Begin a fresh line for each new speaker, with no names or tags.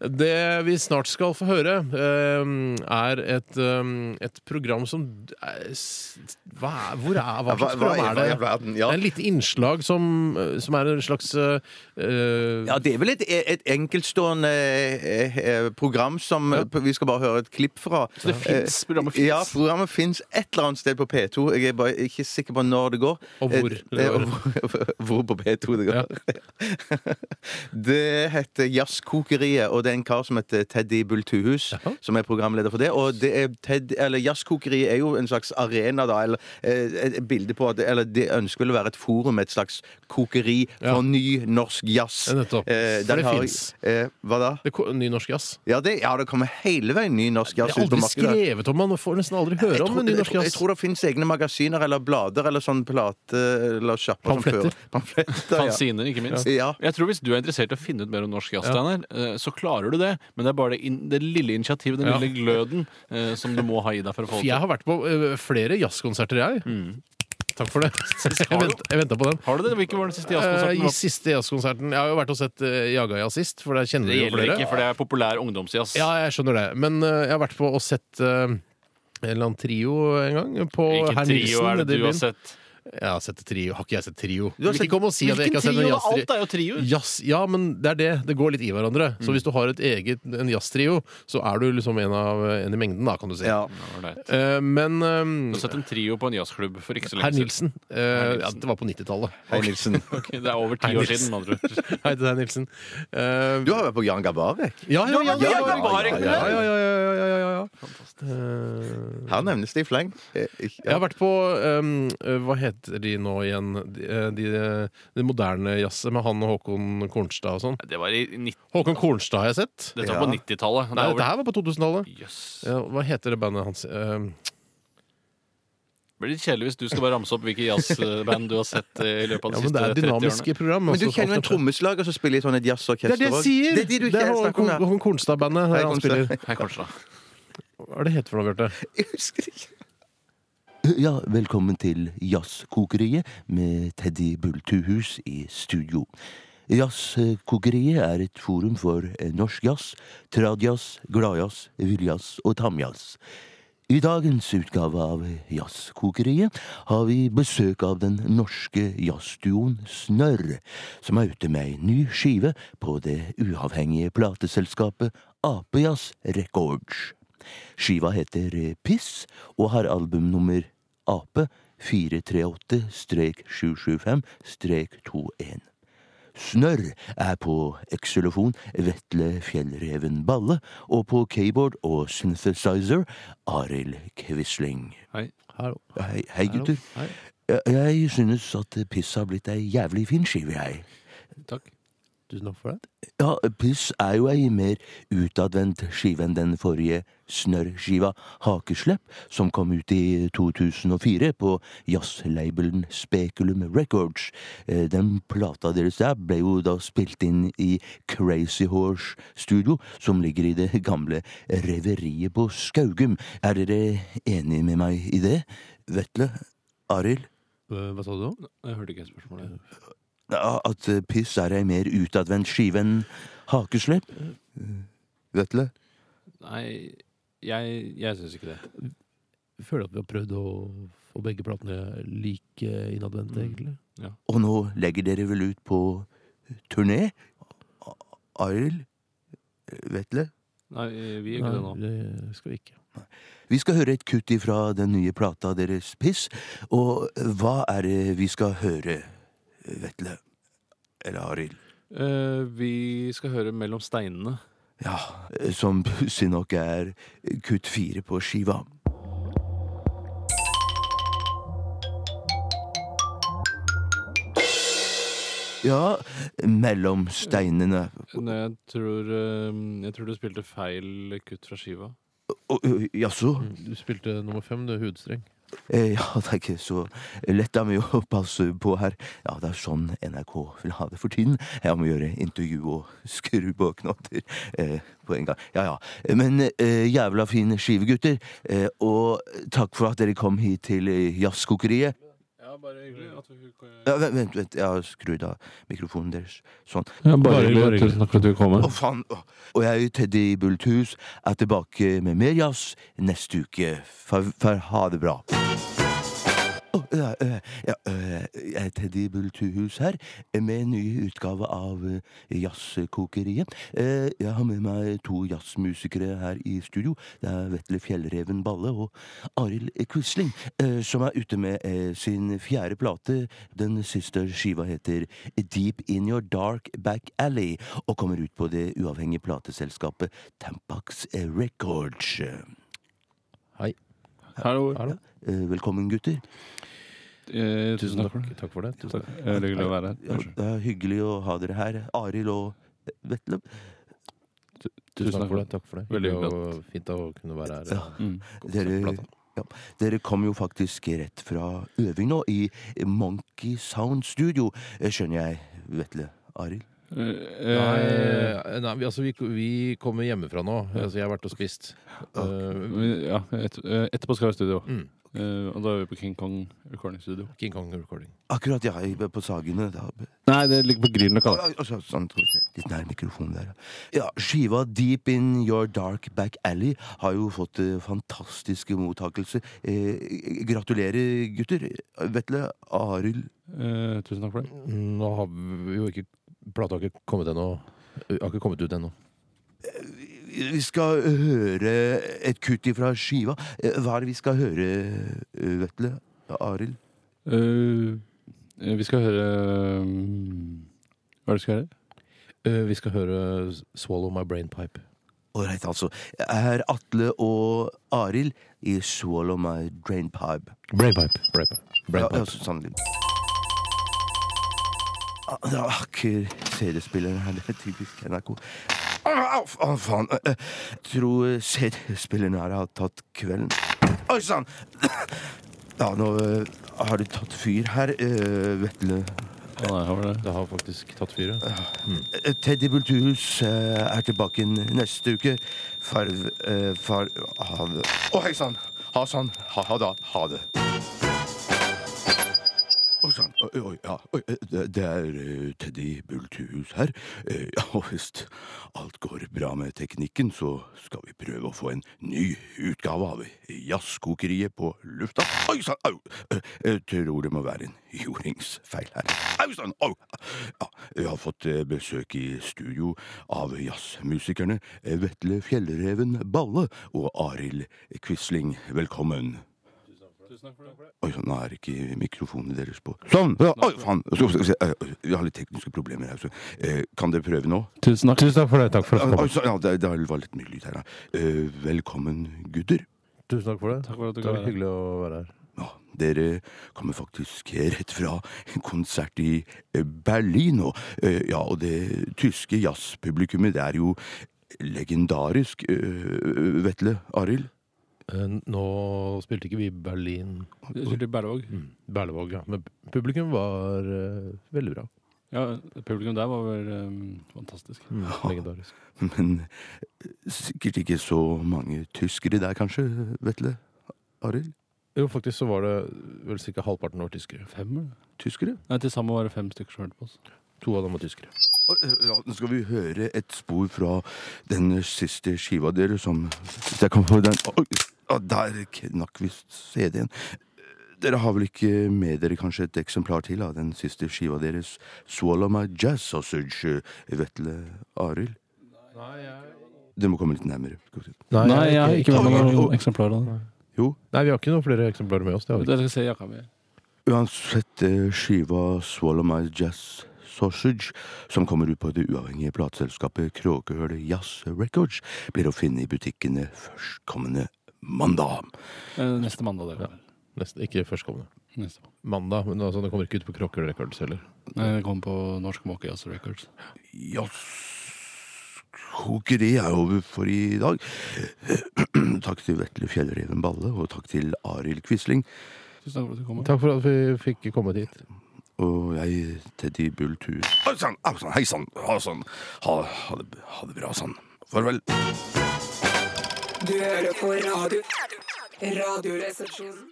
Det vi snart skal få høre, eh, er et, eh, et program som eh, s- hva er, Hvor er hva slags program er det? Det
verden? Ja.
er et lite innslag som, eh, som er en slags eh, eh,
Ja, det er vel et, et enkeltstående eh, eh, program som Vi skal bare høre et klipp fra. Så
det finnes, programmet
eh,
finnes?
Ja, programmet fins et eller annet sted på P2. Jeg er bare ikke sikker på når det går.
Og hvor
Eh,
det går.
og hvor- hvor på P2 det går. det heter Jazzkokeriet, og det er en kar som heter Teddy Bultuhus,
Jaha.
som er programleder for det. Og det er Ted, eller Jazzkokeriet er jo en slags arena, da, eller eh, et bilde på at Eller det ønsker vel å være et forum, et slags kokeri
Ja.
for ny norsk jazz.
Ja, nettopp.
Eh,
For
den
det
har-
finnes.
Eh, hva da?
det ko- Ny norsk jazz.
Ja det, ja, det kommer hele veien ny
Det
norsk jazz
er
ut på
aldri
markedet.
skrevet om, man får nesten aldri høre
Jeg
om
tror,
en ny
jeg,
norsk
tror, jeg
jazz.
tror det finnes egne magasiner eller blader eller sånn plate eller sjapper som
Pamfletter.
fører- Pamfletter, ja.
Fanziner, ikke minst.
Ja.
Jeg tror Hvis du er interessert i å finne ut mer om norsk jazz, Steinar, eh, så klarer du det. Men det er bare det, inn- det lille initiativet, den
Ja.
lille gløden, eh, som du må ha i deg for å få
Jeg
det til.
har vært på eh, flere jazzkonserter, jeg.
Mm.
Takk for det. Jeg,
du?
vent, jeg venta på den.
Har du det? Hvilken var den siste
Eh, I
jazzkonserten?
siste jazzkonserten Jeg har jo vært og sett eh, Jaga jazzist, for der kjenner
Det
vi jo
gjelder
flere.
ikke, for det er populær ungdomsjazz.
Ja, jeg skjønner det. Men eh, jeg har vært på og sett eh, en eller annen trio en gang. På
Hvilken
Herr Nilsen.
trio er det
nede i
du har
byen.
sett?
Jeg har sett et trio. Har ikke jeg sett trio?
har
Ikke
sett-
kom og si at jeg ikke har sett en
trio?
jazztrio.
Alt er jo trioer.
Jazz, ja, men det er det. Det går litt i hverandre. Så
Mm.
hvis du har et eget, en jazztrio, så er du liksom en, av, en i mengden, da, kan du si.
Ja.
Ålreit.
Eh, men eh,
Du har sett en trio på en jazzklubb for ikke så
herr
lenge
Nilsen,
siden.
eh, Ja, det var på 90-tallet.
Hei, Nilsen.
Ok, Det er over ti
Herr
år
Nilsen.
siden, med andre ord.
Hei til deg, Nilsen. Eh,
Du har vært på Jan Gabarek.
ja, ja, ja, ja, ja,
ja, ja,
ja, ja, ja, ja, ja, ja, ja. Eh,
Her nevnes det i fleng. Eh, ikke-
Jeg har vært på ehm, eh, Hva heter de nå igjen? De, eh, de, de moderne jazzet med han og Håkon Kornstad og sånn.
Det var i 90,
Håkon Kornstad har jeg sett.
dette var på
Ja.
90-tallet. Det
Nei,
er
dette
over-
her var på 2000-tallet.
Jøss.
Ja, hva heter det bandet hans? Ehm,
Det blir litt kjedelig hvis du skal bare ramse opp hvilke jazzband du har sett eh, i løpet av
ja, men det
de siste
er
30 årene.
dynamiske program.
Men du
altså,
kjenner jo en
alt dette.
trommeslager som spiller i sånn et jazzorkester
Det er det jeg
også.
sier!
Det er de du ikke helt
Håkon-
snakker om. ja.
Håkon Kornstad-bandet.
Hei,
der han
Konstad.
spiller.
Hei, Kornstad.
Hva er det heter for noe, Bjarte?
Jeg husker det ikke.
Ja, velkommen til Jazzkokeriet med Teddy Bultuhus i studio. Jazzkokeriet er et forum for eh, norsk jazz, tradjazz, gladjazz, villjazz og tamjazz. I dagens utgave av Jazzkokeriet har vi besøk av den norske jazzduoen Snørr, som er ute med ei ny skive på det uavhengige plateselskapet Apejazz Records. Skiva heter eh, Piss og har albumnummer Ape 438-775-21. Snørr er på xylofon Vetle Fjellreven Balle, og på keyboard og synthesizer Arild Quisling.
Hei.
Hallo.
Hei, hei
Hallo.
gutter.
Hei.
Jeg, jeg synes at eh, Piss har blitt ei jævlig fin skive, jeg.
Takk.
Tusen takk for det.
Ja, Puss er jo ei mer utadvendt skive enn den forrige snørrskiva Hakeslepp, som kom ut i 2004 på jazzlabelen Speculum Records. Eh, Den plata deres der ble jo da spilt inn i Crazy Horse Studio, som ligger i det gamle reveriet på Skaugum. Er dere enige med meg i det? Vetle? Arild?
Eh, Hva sa du?
Jeg hørte ikke spørsmålet.
Ja, At eh, Piss er ei mer utadvendt skive enn Hakeslepp? Eh, Vetle?
Nei, jeg, jeg syns ikke det.
Føler at vi har prøvd å få begge platene like innadvendte, egentlig.
Og nå legger dere vel ut på turné? A- Arild? Vetle?
Nei, vi gjør ikke det nå.
det skal vi ikke.
Vi skal høre et kutt ifra den nye plata deres Piss. Og hva er det vi skal høre, Vetle? Eller Arild?
Eh, vi skal høre 'Mellom steinene'.
Ja, som pussig nok er kutt fire på skiva. Ja, mellom steinene.
Nei, jeg, tror, eh, jeg tror du spilte feil kutt fra skiva.
Å, ø, Jaså?
Du spilte nummer fem, du, hudstreng.
Eh, Ja, det er ikke så lett av meg å passe på her. Ja, det er sånn NRK vil ha det for tiden. Jeg må gjøre intervju og skru på knotter eh, på en gang. Ja, ja. Men eh, jævla fine skivegutter, eh, og takk for at dere kom hit til eh, Jazzkokeriet.
Ja, bare hyggelig at vi fikk
Ja, vent, vent, vent, jeg har skrudd av mikrofonen deres. Sånn.
ja,
Bare
Bare
hyggelig.
hyggelig. Tusen takk for at du kom.
Å, faen! Å. Og jeg, Teddy Bulthus, er tilbake med mer jazz neste uke. For, for ha det bra. Å, Ja, øh, ja, øh, jeg er Teddy Bulthus her, med en ny utgave av øh, Jazzkokeriet. Eh, Jeg har med meg to jazzmusikere her i studio. Det er Vetle Fjellreven Balle og Arild Quisling, eh, som er ute med eh, sin fjerde plate. Den siste skiva heter Deep In Your Dark Back Alley, og kommer ut på det uavhengige plateselskapet Tampax eh, Records.
Hallo.
Hallo.
Eh, Velkommen, gutter.
Eh, tusen takk.
Takk, takk for det.
Tusen takk. Det er hyggelig å være
Ja,
her.
det er hyggelig å ha dere her. Arild og eh, Vetle.
Tusen takk for det. Takk for det.
Veldig
Hyggelig
hyggelig
og fint å kunne være her.
Ja.
Mm.
Dere,
Plata.
ja, dere kom jo faktisk rett fra øving nå, i Monkey Sound Studio, eh, skjønner jeg, Vetle. Arild?
Eh, eh,
Nei, nei vi, altså, vi, vi kommer hjemmefra nå. Altså, jeg har vært og spist. Eh,
vi- ja, et, eh, etterpå skal vi i studio.
Mm.
Eh, og da er vi på King Kong Recording Studio.
King Kong Recording.
Akkurat, ja. jeg var På Sagene. Da.
Nei, det ligger på Grünerløkka. da.
Oi, altså, Sånn, skal vi se. litt nær mikrofonen der. Ja, Skiva Deep In Your Dark Back Alley har jo fått eh, fantastiske mottakelse. Eh, gratulerer, gutter. Vetle, Arild
Eh, tusen takk for det.
Nå har vi jo ikke Plata har ikke kommet ennå. Har ikke kommet ut ennå.
Vi skal høre et kutt ifra skiva. Eh, Hva er det vi skal høre, eh, Vetle? Arild?
Eh, eh, vi skal høre mm, Hva er det vi skal høre?
Eh, vi skal høre 'Swallow My Brain Pipe'.
Ålreit, altså. Herr Atle og Arild i Swallow My Drain Pipe.
Brain Pipe. Brain Pipe. Brain
Ja, ja,
pipe.
så sannelig. Ah, Det er ikke CD-spilleren her. Det er typisk NRK. Au, au, au, faen. Eh, eh, Tror CD-spilleren her har tatt kvelden. Oi sann! Ja, nå eh, har det tatt fyr her, eh, Vetle.
Å, nei, her var det.
Det har faktisk tatt fyr, ja.
Eh, Teddy Bulthus eh, er tilbake n- neste uke. Farv eh, Far... Ha det. Å, hei sann! Ha sann. Ha, ha da. Ha det. Oi sann. Oi, oi, ja. Oi, eh, det- det er eh, Teddy Bulthus her. Eh, ja, og hvis alt går bra med teknikken, så skal vi prøve å få en ny utgave av Jazzkokeriet på lufta. Oi sann! Au! Eh, Jeg tror det må være en jordingsfeil her. Au sann! Au! Ja, jeg har fått eh, besøk i studio av jazzmusikerne eh, Vetle Fjellreven Balle og Arild Quisling. Velkommen. Oi, sånn, nå er ikke mikrofonene deres på. Sånn! Ja, oi, faen! Så, så, så, eh, Vi har litt tekniske problemer her, så eh, kan dere prøve nå?
Tusen takk.
Tusen takk for det. Takk for
Oi, så, ja, det, det var litt mye lyd her, ja. Eh, velkommen, gutter.
Tusen takk for det.
Takk for at du
Det
kan
var
være her.
hyggelig å være her.
Ja, dere kommer faktisk rett fra en konsert i eh, Berlin, og, eh, ja, og det tyske jazzpublikummet det er jo legendarisk. eh, Vetle, Arild?
Eh, Nå spilte ikke vi i Berlin.
Jeg kjørte i Berlevåg.
Berlevåg, ja. Men publikum var eh, veldig bra.
Ja, publikum der var vel eh, fantastisk.
Legendarisk.
Men eh, sikkert ikke så mange tyskere der, kanskje? Vetle, Arild?
Jo, faktisk så var det vel ca. halvparten var tyskere.
Fem? eller?
Tyskere?
Nei, til sammen var det fem stykker som hørte på oss.
To av dem var tyskere.
Og, eh, Ja, nå skal vi høre et spor fra den siste skiva dere som Hvis jeg kan få den Oi, ja, Der knakk visst CD-en. Dere har vel ikke med dere kanskje et eksemplar til av den siste skiva deres, 'Swallow My Jazz Sausage', Vetle Arild? Dere må komme litt nærmere. Skal vi se.
Nei,
Nei, jeg har ikke vært med
Oi, oi,
noen
oi.
eksemplarer. av det.
Jo,
Nei, vi har ikke noen flere eksemplarer med oss. Det har vi.
Dere skal se jakka mi.
Uansett eh, skiva Swallow My Jazz Sausage, som kommer ut på det uavhengige plateselskapet Kråkehøl Jazz Records, blir å finne i butikkene førstkommende mandag.
Eh, Neste mandag, dere.
ikke. Nesten, ikke førstkommende.
Neste mandag.
Mandag. Men altså, det kommer ikke ut på Krokkel Records heller.
Nei, det kom på Norsk Måke Jazz Records.
Jazzkokeri er over for i dag. takk til Vetle Fjellreven Balle, og takk til Arild Quisling.
Tusen takk for at du kom.
Takk for at vi fikk kommet hit.
Og jeg, Teddy Bulltur. Hei sann, au sann, hei sann, ha sann. Ha, ha, det, ha det bra sann. Farvel.
Du hører på radio. Radioresepsjonen.